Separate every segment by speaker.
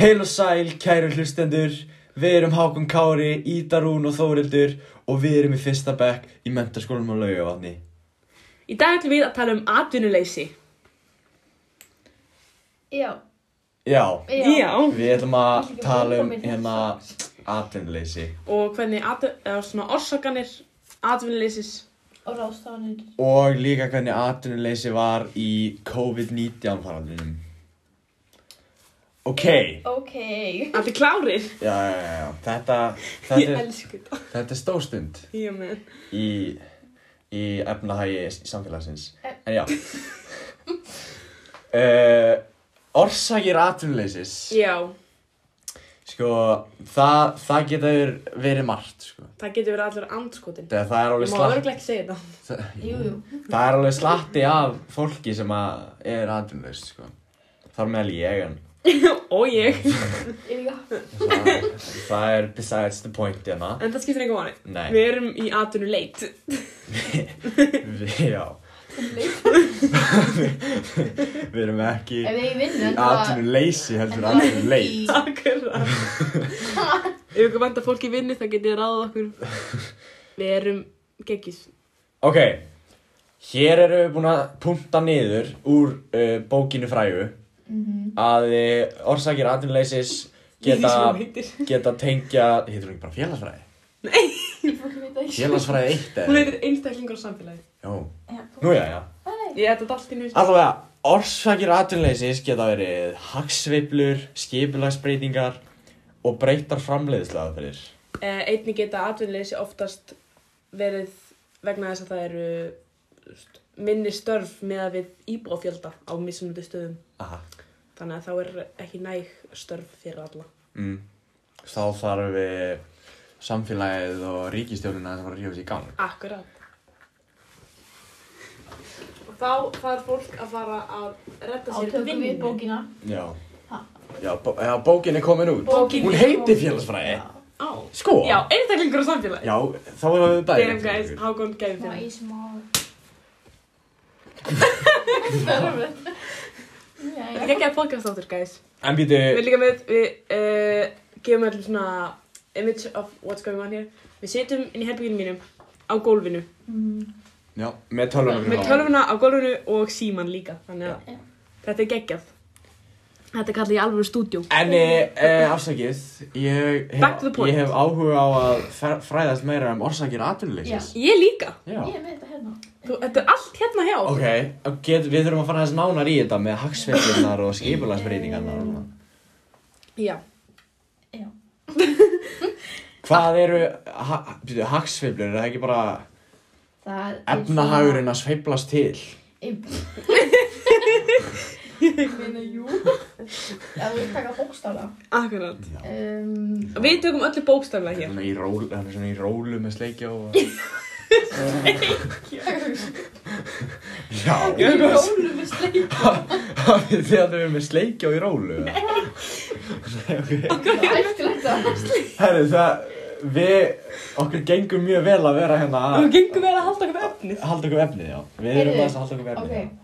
Speaker 1: Heil og sæl, kæru hlustendur, við erum Hákon Kári, Ídarún og Þórildur og við erum í fyrsta bekk í mentaskólanum á laugavatni.
Speaker 2: Í dag ætlum við að tala um atvinnuleysi.
Speaker 3: Já,
Speaker 1: Já,
Speaker 3: já.
Speaker 1: við ætlum að
Speaker 3: Ég er ekki
Speaker 1: tala um
Speaker 3: velkomin í
Speaker 1: hérna atvinnuleysi
Speaker 2: Og hvernig atv- eða svona orsakanir atvinnuleysis.
Speaker 3: Og ráðstafanir.
Speaker 1: og líka hvernig atvinnuleysi var í COVID-19 faraldinum. Ok, já,
Speaker 3: Ok.
Speaker 2: Allir klárir.
Speaker 1: já, já, já, þetta, þetta,
Speaker 2: Ég
Speaker 1: er,
Speaker 2: elsku þetta.
Speaker 1: þetta er stórstund
Speaker 2: Já, menn.
Speaker 1: í, í efnahagi samfélagsins. En já. uh, orsakir atvinnuleysis.
Speaker 2: Já,
Speaker 1: Sko, það, það getur verið margt, sko.
Speaker 2: það getur verið allur andskotin.
Speaker 1: Þegar það er alveg
Speaker 2: Ég má
Speaker 1: slatt,
Speaker 2: örglega ekki segja þetta.
Speaker 3: Jú, jú.
Speaker 1: það er alveg slatti af fólki sem að er atvinnuleyst, sko. Þar meðal ég, en
Speaker 2: Og ég.
Speaker 3: Ég líka.
Speaker 1: það, það er besides the point, hérna.
Speaker 2: En það skiptir einhver máli. Við
Speaker 1: Nei,
Speaker 2: erum í atvinnuleit.
Speaker 1: við, já,
Speaker 3: Ef
Speaker 1: við erum ekki
Speaker 3: ég
Speaker 1: í
Speaker 3: vinnu,
Speaker 1: atvinnuleysi, heldur atvinnuleit.
Speaker 2: Akkurat. Ef ykkur vantar fólk í vinnu þá getur ég ráðið okkur. Við erum geggis.
Speaker 1: Ok, hér erum við búin að punta niður úr uh, bókinu frægu að uh, orsakir atvinnuleysis geta, geta tengja, heitir hún ekki bara félagsfræði?
Speaker 3: Ég fór ekki veit að ekki.
Speaker 1: Félagsfræði eitt eða?
Speaker 2: Hún heitir einstaklingur og samfélagi.
Speaker 1: Jó, nú já, já.
Speaker 2: Ég ætla þetta allt í nýjum.
Speaker 1: Allavega, orsakir atvinnuleysis geta verið hagsveiflur, skipulagsbreytingar og breytar framleiðislaðferðir.
Speaker 2: Eh, einnig geta atvinnuleysi oftast verið vegna þess að það eru þú veist, minni störf með að við íbúafjölda á mismunandi stöðum.
Speaker 1: Aha.
Speaker 2: Þannig að þá er ekki næg störf fyrir alla.
Speaker 1: Mm. Þá þarf við samfélagið og ríkistjórnina að það var að rífa sér í gang.
Speaker 2: Akkurát. Og þá þarf fólk að fara að redda sér
Speaker 3: Átökum við bókina.
Speaker 1: Já.
Speaker 3: Ha?
Speaker 1: Já, bó já, bókin er komin út.
Speaker 2: Bókin
Speaker 1: Hún
Speaker 2: er
Speaker 1: heiti
Speaker 3: komin.
Speaker 1: félagsfræði.
Speaker 2: Á.
Speaker 1: Sko.
Speaker 2: Já, einstaklingur og samfélagi.
Speaker 1: Já, þá erum við bæði.
Speaker 2: Damn guys, Hákon gæði
Speaker 3: Smá
Speaker 2: fyrir.
Speaker 3: í smá. Verður. Já, já.
Speaker 2: Ég gæði podcast áttur guys.
Speaker 1: En býtu,
Speaker 2: Við líka með, við uh, gefum öllum svona image of what's going on here. Við sitjum inn í herbygginu mínum á gólfinu.
Speaker 1: já, með tölvunum. hérna.
Speaker 2: Með tölvuna á gólfinu og síman líka. Þannig að
Speaker 3: Já.
Speaker 2: þetta er geggjað. Þetta kalla ég alveg stúdjó.
Speaker 1: En e, e, afsakið, ég
Speaker 2: Back to the
Speaker 1: hef,
Speaker 2: point.
Speaker 1: ég hef áhuga á að fer- fræðast meira um orsakir atvinnuleysis.
Speaker 2: Ég líka.
Speaker 1: Já.
Speaker 3: Ég er með þetta hérna.
Speaker 2: Þú, þetta er allt hérna hjá.
Speaker 1: Ok, og get, við þurfum að fara þess nánar í þetta með hagsveiflunar og skipulagsbreytingarnar. og svona.
Speaker 2: Já.
Speaker 3: Já.
Speaker 1: Hvað eru, ha, býtu, hagsveiflur, er það ekki bara
Speaker 3: Það er
Speaker 1: efnahagurinn að sveiflast til?
Speaker 3: Ég meina, jú. Já, þú vil taka bókstála.
Speaker 2: Akkurat.
Speaker 3: Um,
Speaker 2: Við tökum öllu bókstaflega
Speaker 1: Það er
Speaker 2: hér.
Speaker 1: svona í rólu, það er svona í rólu með sleikja og... Já,
Speaker 3: Ég er rólu með sleik.
Speaker 1: Hafið þið að þau verið með sleikja og í rólu? Nei. Nei, ok.
Speaker 3: Það er ættilegt að það er sleik.
Speaker 1: Herri, það, við, okkur gengum mjög vel að vera hérna
Speaker 2: Þú
Speaker 1: að
Speaker 2: gengum við að halda okkur efnið.
Speaker 1: halda okkur efnið, já. Við erum
Speaker 3: Heyrðu,
Speaker 1: aðeins að halda okkur efnið.
Speaker 3: Ok.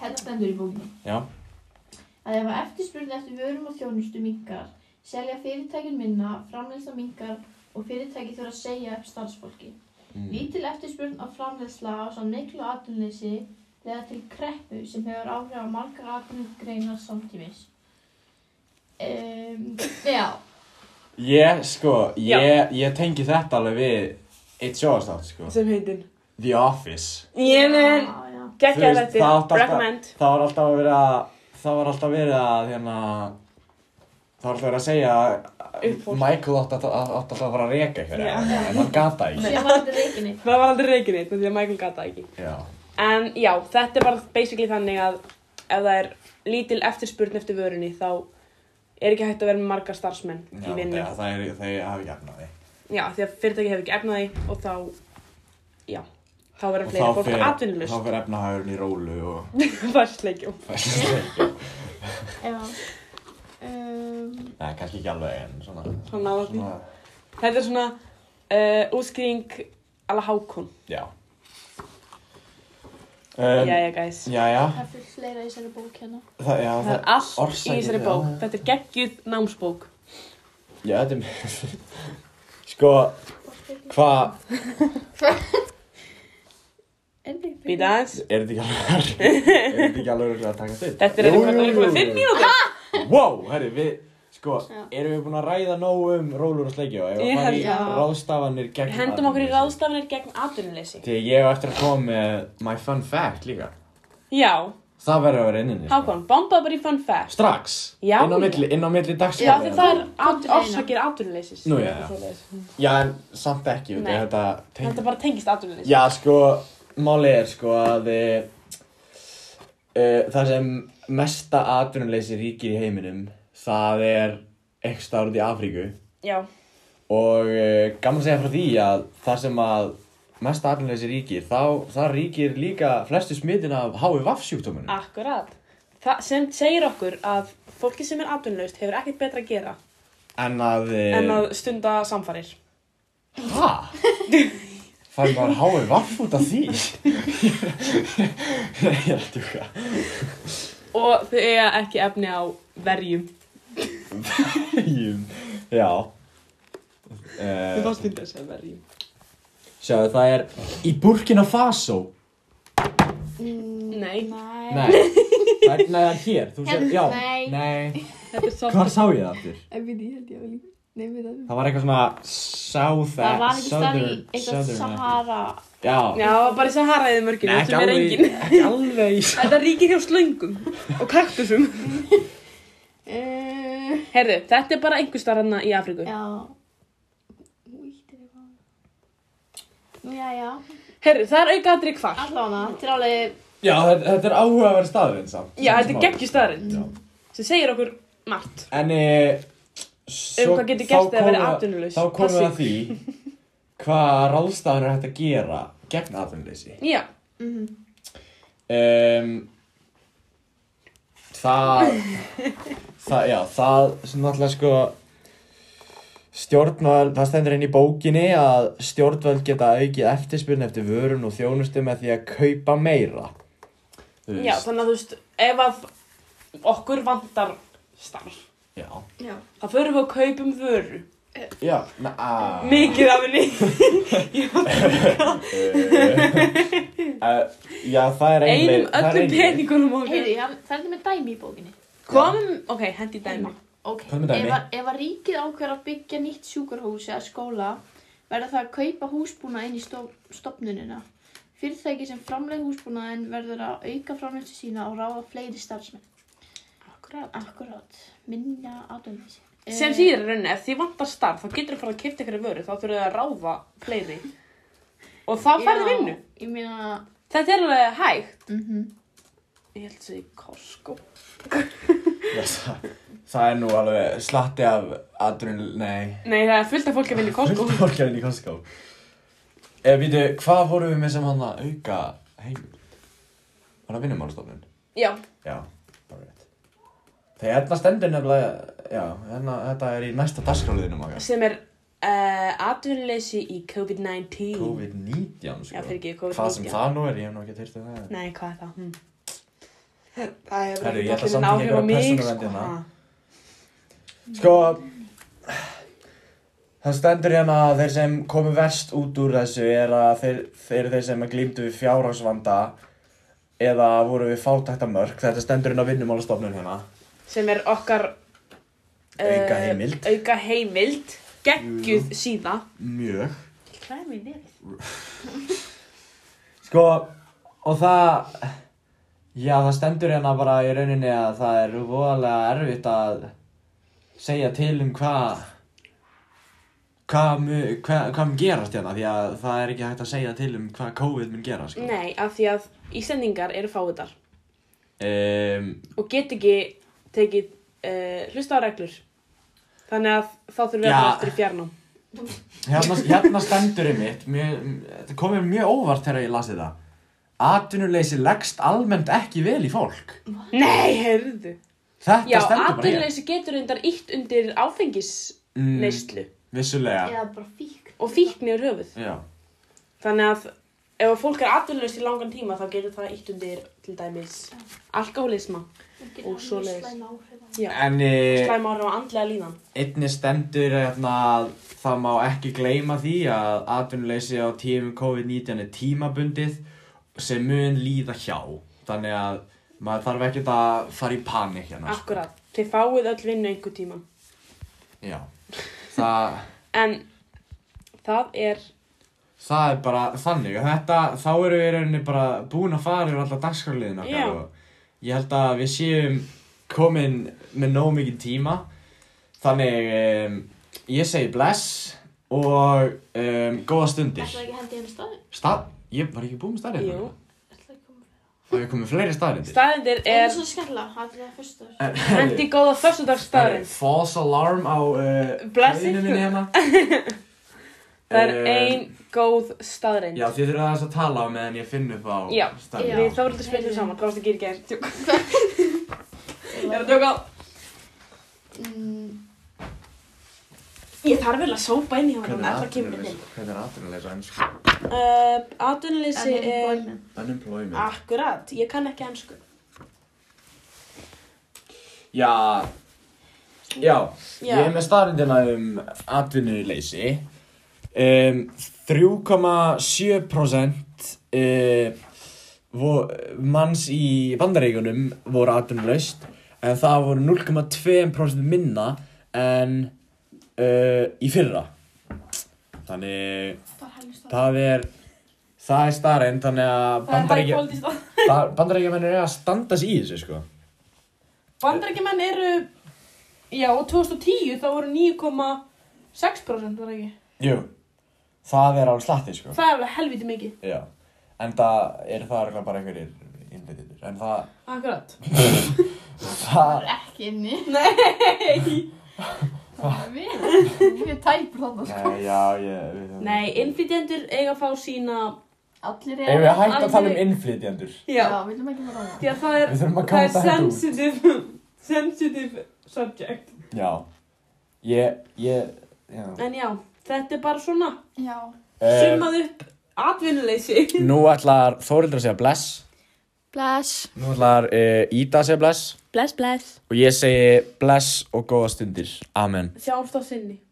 Speaker 3: Hérna stendur í bókinni.
Speaker 1: Já.
Speaker 3: að ef að eftirspurn eftir vörum og þjónustu mingar, selja fyrirtækin minna, framleiðsla mingar og fyrirtæki þurfa að segja upp starfsfólki.
Speaker 1: Mm.
Speaker 3: Lítil eftirspurn á framleiðsla á svo miklu atvinnleysi leða til kreppu sem hefur áhrif á margar atvinnugreinar samtímis. Um, já,
Speaker 1: Ég, sko,
Speaker 2: Já.
Speaker 1: ég, ég tengi þetta alveg við eitt sjóðastátt, sko.
Speaker 2: Sem heitin.
Speaker 1: The Office.
Speaker 2: Ég menn.
Speaker 3: já, já.
Speaker 2: Gekkjað
Speaker 1: Þú veist, það átti
Speaker 2: þetta.
Speaker 1: alltaf-
Speaker 2: Recommend.
Speaker 1: Það var alltaf að vera, það var alltaf verið að, hérna, það var alltaf verið að segja að
Speaker 2: Upp fólk.
Speaker 1: Michael átti alltaf, átti alltaf að fara að reka ykkur,
Speaker 2: Já.
Speaker 1: en hann gata ekki.
Speaker 3: Ég var þetta reikinni.
Speaker 2: Það var aldrei reikinni, þannig að Michael gata ekki.
Speaker 1: Já.
Speaker 2: En já, þetta er bara basically þannig að ef það er lítil eftirspurn eftir vörunni þá er ekki hægt að vera með marga starfsmenn
Speaker 1: Já,
Speaker 2: í vinnu.
Speaker 1: það, það er, þau hafa jafnaði.
Speaker 2: Já, því að fyrirtæki hefur ekki efnaði og þá, já, þá verða
Speaker 1: Og
Speaker 2: fleiri
Speaker 1: þá
Speaker 2: fólk
Speaker 1: fer- Þá
Speaker 2: atvinnulust.
Speaker 1: fyrir efnahagurinn í rólu og...
Speaker 2: Það er sleikjum.
Speaker 3: Já. Um,
Speaker 1: Ehm. Nei, kannski ekki alveg en svona...
Speaker 2: Svona nálægt því. Þetta er svona Uh, útskýring ala hákun.
Speaker 1: Já. Um,
Speaker 2: Jæja, guys.
Speaker 1: Jæja,
Speaker 3: Það er fullt fleira í þessari bók hérna.
Speaker 1: það, já,
Speaker 2: Það er
Speaker 1: það,
Speaker 2: allt
Speaker 1: orsakir,
Speaker 2: í þessari
Speaker 1: já,
Speaker 2: bók.
Speaker 1: já.
Speaker 2: Þetta er geggjuð námsbók.
Speaker 1: já, þetta er mér. sko, hvað,
Speaker 2: Býta aðeins.
Speaker 1: er þetta ekki alveg, er þetta ekki alveg örugglega að taka þitt?
Speaker 2: Þetta er
Speaker 1: Jú, jú,
Speaker 2: eitthvað
Speaker 1: jú,
Speaker 2: komið
Speaker 1: jú.
Speaker 2: fimm mínútur.
Speaker 1: Wow, herri, við, sko,
Speaker 3: Já.
Speaker 1: erum við búin að ræða nóg um rólur og sleikja og ef
Speaker 2: Ég
Speaker 1: við fara í
Speaker 3: held- Já.
Speaker 1: ráðstafanir gegn
Speaker 2: Hendum okkur í
Speaker 1: atvinnuleysi?
Speaker 2: ráðstafanir gegn atvinnuleysi.
Speaker 1: Því að ég á eftir að koma með my fun fact líka.
Speaker 2: Já,
Speaker 1: Það verður að vera inninni.
Speaker 2: Hákon, bombaðu bara í fun fact.
Speaker 1: Strax.
Speaker 2: Já.
Speaker 1: Inn á milli, inn á milli
Speaker 2: Já,
Speaker 1: dagskóla.
Speaker 2: því það er at-
Speaker 3: Komdu með
Speaker 2: orsakir atvinnuleysis.
Speaker 1: Nú, já, já. Já, en samt ekki,
Speaker 2: Nei.
Speaker 1: Nei. þetta
Speaker 2: Þetta
Speaker 1: tengt.
Speaker 2: bara tengist atvinnuleysi.
Speaker 1: Já, sko, máli er sko að e, e, það sem mesta atvinnuleysi ríkir í heiminum, það er einhvers staðar út í Afríku.
Speaker 2: Já,
Speaker 1: Og e, gaman að segja frá því að það sem að mesta atvinnuleysi ríkir, þá, það ríkir líka flestu smitin af HIV-sjúkdómunum.
Speaker 2: akkurat. Það sem segir okkur að fólki sem er atvinnulaust hefur ekkert betra að gera
Speaker 1: En að... E,
Speaker 2: en að stunda samfarir.
Speaker 1: Hæ? Fær maður háið vaff út af því? Nei, ég er að djúka.
Speaker 2: Og þau eiga ekki efni á verjum.
Speaker 1: Eh. Jú, Já. Uh,
Speaker 2: Þau fannst myndið að segja verjum.
Speaker 1: Sjáðu, það er í Burkina Faso.
Speaker 3: Mm,
Speaker 2: Nei.
Speaker 3: Nei.
Speaker 1: Nei, það er, nei, það er hér. Þú sér,
Speaker 3: Hérna,
Speaker 1: já,
Speaker 3: nei.
Speaker 1: nei.
Speaker 2: Þetta er
Speaker 1: Hvar
Speaker 2: svolítið.
Speaker 1: sá ég það aftur?
Speaker 3: Ef við því held ég að líka. Nei, við það.
Speaker 1: Það var eitthvað svona South...
Speaker 3: Það var ekki stað í
Speaker 1: Southern-
Speaker 3: eitthvað
Speaker 1: Southern-
Speaker 3: Sahara.
Speaker 1: Já.
Speaker 2: Já, bara þess að haraðið mörginu,
Speaker 1: Nei, ekki
Speaker 2: þetta er
Speaker 1: alveg,
Speaker 2: engin.
Speaker 1: ekki alveg í...
Speaker 2: Þetta ríkir hjá slöngum og kaktusum.
Speaker 3: Uh,
Speaker 2: Herðu, þetta er bara einhver starf hérna í Afríku.
Speaker 3: já. Úttir eitthvað. Nú, já, já.
Speaker 2: Herðu, það er aukaðri hvar.
Speaker 3: Allána, þetta er alveg...
Speaker 1: Já, þetta, þetta er áhugaverð staðurinn samt.
Speaker 2: Já,
Speaker 1: Samt
Speaker 2: þetta er
Speaker 1: smá.
Speaker 2: geggjur staðrind
Speaker 1: Já.
Speaker 2: sem segir okkur margt.
Speaker 1: En e,
Speaker 2: Um
Speaker 1: svo,
Speaker 2: hvað getur
Speaker 1: þá
Speaker 2: gerst þegar
Speaker 1: komum
Speaker 2: verið
Speaker 1: við-
Speaker 2: atvinnulaus.
Speaker 1: Þá komum við að
Speaker 2: Passív.
Speaker 1: því hvað ráðstafan er hægt að gera gegn atvinnuleysi.
Speaker 2: Já,
Speaker 3: Mm.
Speaker 1: Um, það, það, já, það sem náttúrulega sko stjórnvöld, það stendur inn í bókinni að stjórnvöld geta aukið eftirspurn eftir vörun og þjónustu með því að kaupa meira. Þú
Speaker 2: já,
Speaker 1: veist,
Speaker 2: þannig að þú veist, ef að okkur vantar starf,
Speaker 1: já.
Speaker 3: Já.
Speaker 2: þá förum við og kaupum vöru.
Speaker 1: Já, na, a,
Speaker 2: Mikið af henni.
Speaker 1: Uh, já, það er ein leið-
Speaker 2: Einum
Speaker 1: það er
Speaker 2: öllum
Speaker 1: ein leið.
Speaker 2: peningunum og
Speaker 3: Heyrðu, já, það er þetta með dæmi í bókinni.
Speaker 2: Komum, ok, hendi í dæmi.
Speaker 3: Ok.
Speaker 1: Hvað er með dæmi?
Speaker 3: Ef, að- ef að ríkið ákveður að byggja nýtt sjúkarhús eða skóla, verður það að kaupa húsbúna inn í stof, stofnunina. Fyrirtæki sem framleið húsbúnaðin verður að auka framleiðslu sína og ráða fleiri starfsmenn.
Speaker 2: Akkurat.
Speaker 3: Akkurát, minna atvinnuleysi. Eh,
Speaker 2: Sem síður er rauninni, ef því vantar starf, þá getur þú farið að kipta ykkur vöru, þá þurfum við að ráða fleiri. Og þá færðu vinnu.
Speaker 3: Ég meina,
Speaker 2: Þetta er alveg hægt.
Speaker 3: mm
Speaker 2: Ég held að segja Costco.
Speaker 1: Já, það- Það er nú alveg slatti af adrun, nei,
Speaker 2: Nei, það er fullt af fólki að vinna í Costco.
Speaker 1: fólkjæðin í Costco. Eða býtu, hvað vorum við með sem hann að auka heimil? Var það vinnumálstofnun?
Speaker 2: Já,
Speaker 1: Já, bara rétt. Þegar hérna stendur nefnilega, já, hérna, þetta er í næsta dagskráliðinu maga.
Speaker 2: sem er uh, atvinnuleysi í COVID-19
Speaker 1: COVID-19, sko.
Speaker 2: Já, fyrirgefðu, COVID-19.
Speaker 1: Hvað sem það nú er, ég hef nú ekki teirt um það.
Speaker 2: Nei, hvað er það? Hm. Það hefur
Speaker 1: Herru, ég
Speaker 2: ekki
Speaker 1: ætla
Speaker 2: allir
Speaker 1: samt ekki að
Speaker 2: áhrif á
Speaker 1: gera
Speaker 2: mig,
Speaker 1: persónuvernd
Speaker 2: sko.
Speaker 1: hérna.
Speaker 2: Ha.
Speaker 1: Sko Það stendur hérna að þeir sem komu verst út úr þessu er að þeir, þeir eru þeir sem glýmdu við fjárhagsvanda eða voru við fátæktamörk þetta stendur hérna á vinnumálastofnun hérna
Speaker 2: Sem er okkar
Speaker 1: Auka heimild.
Speaker 2: uh, auka heimild geggjuð síða
Speaker 1: Mjög
Speaker 2: Hvað er mér verið?
Speaker 1: Sko og það Já það stendur hérna bara í rauninni að það er voðalega erfitt að segja til um hvað hvað mu- hvað hva mun gerast hérna því að það er ekki hægt að segja til um hvað COVID mun gera sko.
Speaker 2: Nei, af því að Íslendingar eru fáiðar
Speaker 1: um,
Speaker 2: og get ekki tekið uh, hlusta á reglur Þannig að þá þurfum við
Speaker 1: Já.
Speaker 2: að fara aftur í fjarnám
Speaker 1: Hérna, hérna stendurinn mitt, mjög, þetta kom mér mjög óvart þegar ég lasi það. Atvinnuleysi leggst almennt ekki vel í fólk.
Speaker 2: Nei, heyrðu
Speaker 1: Þetta
Speaker 2: Já,
Speaker 1: stendur bara hér.
Speaker 2: atvinnuleysi getur reyndar ítt undir áfengisneyslu
Speaker 1: Mm. Vissulega.
Speaker 3: eða bara fíkn.
Speaker 2: og fíkni er höfuð.
Speaker 1: Já.
Speaker 2: Þannig að ef að fólk er atvinnlaust í langan tíma þá getur það ítt undir til dæmis alkoholisma,
Speaker 3: Engin
Speaker 2: Og
Speaker 3: alveg
Speaker 2: svoleiðis.
Speaker 3: slæm áhrif á-
Speaker 2: Já.
Speaker 1: En e,
Speaker 2: slæma áhrif á andlega líðan.
Speaker 1: einni stendur hérna, að það má ekki gleyma því að atvinnuleysi á tímum COVID-19 er tímabundið sem mun líða hjá. Þannig að maður þarf ekki að fara í panik hérna. sko.
Speaker 2: Akkurat. Þið fáið öll vinnu einhver tíman.
Speaker 1: Já. Það...
Speaker 2: En það er
Speaker 1: Það er bara þannig og þetta, þá erum við í rauninni bara búin að fara yfir alla dagskrarliðin
Speaker 2: Já.
Speaker 1: okkar og ég held að við séum komin með nóg mikið tíma þannig um, ég segi bless og um, góða stundir
Speaker 3: Ætlaðu ekki að hendi henni staðið?
Speaker 1: Stað, ég var ekki búin með staðrindir
Speaker 2: Jú.
Speaker 3: Ætlaðu ekki að koma fyrir?
Speaker 1: og ég komið fleiri staðrindir
Speaker 2: staðindir
Speaker 3: Er
Speaker 2: er
Speaker 3: það skella? Það er fyrst þar.
Speaker 2: hendi góða föstudagsstaðin.
Speaker 1: False alarm á uh,
Speaker 2: Bless
Speaker 1: hliðinu
Speaker 2: ykkur.
Speaker 1: minni hérna
Speaker 2: Það er
Speaker 1: Um,
Speaker 2: ein góð staðrind.
Speaker 1: Já, þið þurfum aðeins að tala á meðan ég finn upp á
Speaker 2: Já.
Speaker 1: staðrindina.
Speaker 2: Við Þóruldur spilum saman, hvað varst að gera í gær? Tjók. Ég er að
Speaker 3: Ætlaðu-
Speaker 2: tjóka.
Speaker 3: Mm,
Speaker 2: Ég þarf vel að sópa inn í hann,
Speaker 1: Hvernig
Speaker 2: ef
Speaker 1: er
Speaker 2: það kemur inn.
Speaker 1: atvinnuleysi? Hvernig er atvinnuleysi á ensku?
Speaker 2: Uh, Atvinnuleysi er...
Speaker 3: unemployment.
Speaker 1: Unemployment.
Speaker 2: Akkurat, ég kann ekki ennsku.
Speaker 1: Já, já,
Speaker 2: Já.
Speaker 1: ég er með staðrindina um atvinnuleysi. Um, 3,7% uh, vo, manns í bandaríkunum voru atvinnuleyst en það voru 0,2% minna en uh, í fyrra. Þannig,
Speaker 3: Það er helvist þar.
Speaker 1: það er, það er staðrind, þannig að
Speaker 2: Það er high
Speaker 1: bandaríkja...
Speaker 2: quality stað.
Speaker 1: Bandarækjumennir eru að standa sig í þessu sko
Speaker 2: Bandarækjumenn eru... Já, og 2010 þá voru 9,6% var það ekki.
Speaker 1: Jú Það er á slatti sko
Speaker 2: Það er alveg helviti mikið.
Speaker 1: Já En það er það örugglega bara einhverjir innbytjendur En það,
Speaker 2: Akkurat.
Speaker 3: Það
Speaker 1: það
Speaker 3: er ekki inni.
Speaker 2: Nei!
Speaker 3: Það er við. Við tæpur þarna sko.
Speaker 1: Nei, já, ég við,
Speaker 2: Nei, innflytjendur eiga að fá sína...
Speaker 3: Allir
Speaker 1: Ef við
Speaker 3: eru.
Speaker 1: hægt að tala um
Speaker 2: Alveg.
Speaker 1: innflytjendur
Speaker 2: Já.
Speaker 3: Já, viljum ekki fara á það.
Speaker 2: Því að það er,
Speaker 1: Við þurfum að
Speaker 2: það er
Speaker 1: káta þetta út.
Speaker 2: sensitive, sensitive subject.
Speaker 1: Já Ég, ég, já
Speaker 2: En já, þetta er bara svona,
Speaker 3: Já.
Speaker 1: Eh.
Speaker 2: summað upp atvinnuleysi.
Speaker 1: Nú ætlar Þórildur að segja bless
Speaker 3: Bless.
Speaker 1: Nú ætlar uh, Ída að segja bless
Speaker 2: Bless, bless.
Speaker 1: Og ég segi bless og góða stundir Amen
Speaker 2: Sjáumst á sinni.